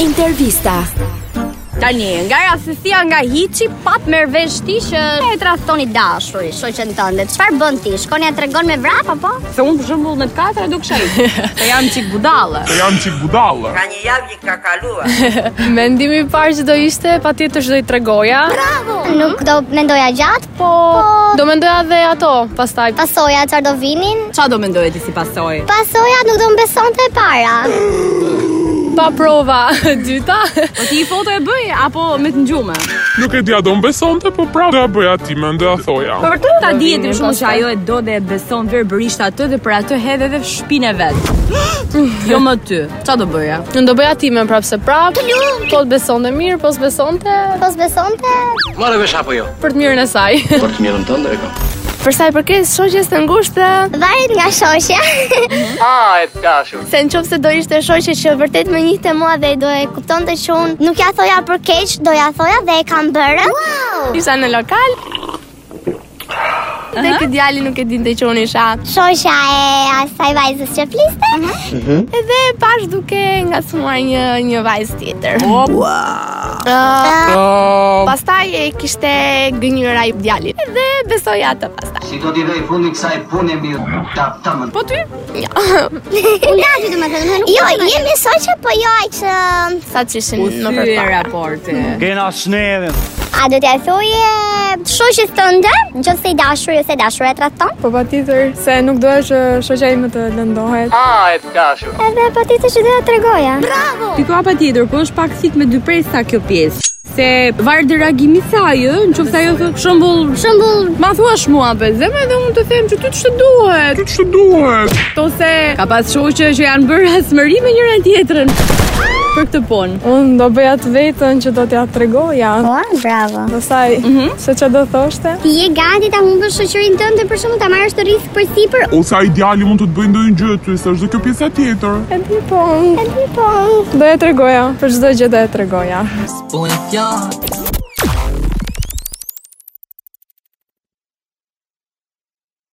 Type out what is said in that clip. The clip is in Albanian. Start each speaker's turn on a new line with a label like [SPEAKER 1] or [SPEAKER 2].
[SPEAKER 1] Intervista.
[SPEAKER 2] Tani, nga rastësia nga hiçi, pat merr vesh ti që e tradhtoni dashuri, shoqen tënde. Çfarë bën ti? Shkon ja tregon me vrap apo?
[SPEAKER 3] Se unë për shembull me të katër do kshej. Se jam çik budallë.
[SPEAKER 4] Se jam çik budallë.
[SPEAKER 5] Nga një javë që ka kaluar.
[SPEAKER 6] Mendimi i parë që do ishte, patjetër që do i tregoja.
[SPEAKER 2] Bravo. Nuk do mendoja gjatë, po
[SPEAKER 6] Do mendoja dhe ato, pastaj.
[SPEAKER 2] pasoja çfarë do vinin?
[SPEAKER 3] Çfarë do mendoje ti si pasojë?
[SPEAKER 2] Pasoja nuk do mbesonte para.
[SPEAKER 6] Pa prova e dyta.
[SPEAKER 3] Po ti i foto e bëj apo me të ngjume?
[SPEAKER 4] Nuk e dia do më besonte, po prapë do ja bëja time, do ja thoja.
[SPEAKER 3] Po vërtet ta
[SPEAKER 6] Do
[SPEAKER 3] dihet
[SPEAKER 6] vini
[SPEAKER 3] për shkakun që
[SPEAKER 6] pastaj.
[SPEAKER 3] ajo e do dhe e beson verbërisht atë dhe për atë hedh edhe shpinë e vet. jo më ty. Çfarë do bëja?
[SPEAKER 6] Unë do bëja time prapë se prapë. Po të besonte mirë, po s'besonte
[SPEAKER 2] Po s'besonte?
[SPEAKER 7] Marrë vesh apo jo?
[SPEAKER 6] për të mirën e saj.
[SPEAKER 7] Për të mirën tënde e kam.
[SPEAKER 6] për sa i përket shoqjes të ngushtë,
[SPEAKER 2] Varet nga shoqja.
[SPEAKER 7] Ah, e të dashur.
[SPEAKER 2] se në qofë se do ishte shoqe që vërtet më njihte mua dhe do e kuptonte që unë nuk ja thoja për keq, do ja thoja dhe e kam bërë. Wow!
[SPEAKER 6] isha në lokal. Dhe këtë djali nuk e dinte që unë isha
[SPEAKER 2] Shosha e asaj vajzës që fliste
[SPEAKER 6] Edhe pash duke nga smuar një, një vajzë tjetër
[SPEAKER 2] Ah,
[SPEAKER 6] Pastaj e kishte gënjëra i djalit Edhe besoj atë pastaj
[SPEAKER 7] Si do t'i vej fundi kësaj pune mirë, ta tamën. Po ty?
[SPEAKER 2] Unë da të më thënë Jo, jemi shoqe, po jo aq që...
[SPEAKER 6] Sa që ishin në
[SPEAKER 3] Ky e raporti.
[SPEAKER 8] Kena snedhen.
[SPEAKER 2] A do t'ja thoje shoqes tënde, nëse i dashuri ose dashura e trahton?
[SPEAKER 9] Po pa tjetër, se nuk doja që shoqja ime të lëndohet.
[SPEAKER 7] Ah, e të dashur.
[SPEAKER 2] Edhe po ti të që doja t'rregoja. Bravo!
[SPEAKER 3] Piko pa tjetër, po është pak thit me dy presa kjo pjesë. Se varë dhe reagimi sa ajo, në qoftë ajo thë shëmbull, shëmbull, ma thua mua bezeme dhe unë të them që ty të shëduhet,
[SPEAKER 4] Që duhet?
[SPEAKER 3] to se ka pas shoqe që janë bërë hasmëri me njëra tjetrën për këtë punë.
[SPEAKER 9] Unë do bëja të vetën që do t'ja tregoja.
[SPEAKER 2] Po, bravo.
[SPEAKER 9] Do saj, se që do thoshte.
[SPEAKER 2] Ti je gati ta humbësh shoqërinë tënde për shkakun ta marrësh të risk për sipër?
[SPEAKER 4] Ose ai djali mund të të bëjë ndonjë gjë ty, s'është dhe kjo pjesa tjetër.
[SPEAKER 9] E di po, unë
[SPEAKER 2] Ti po.
[SPEAKER 9] do e tregoja, për çdo gjë do e tregoja.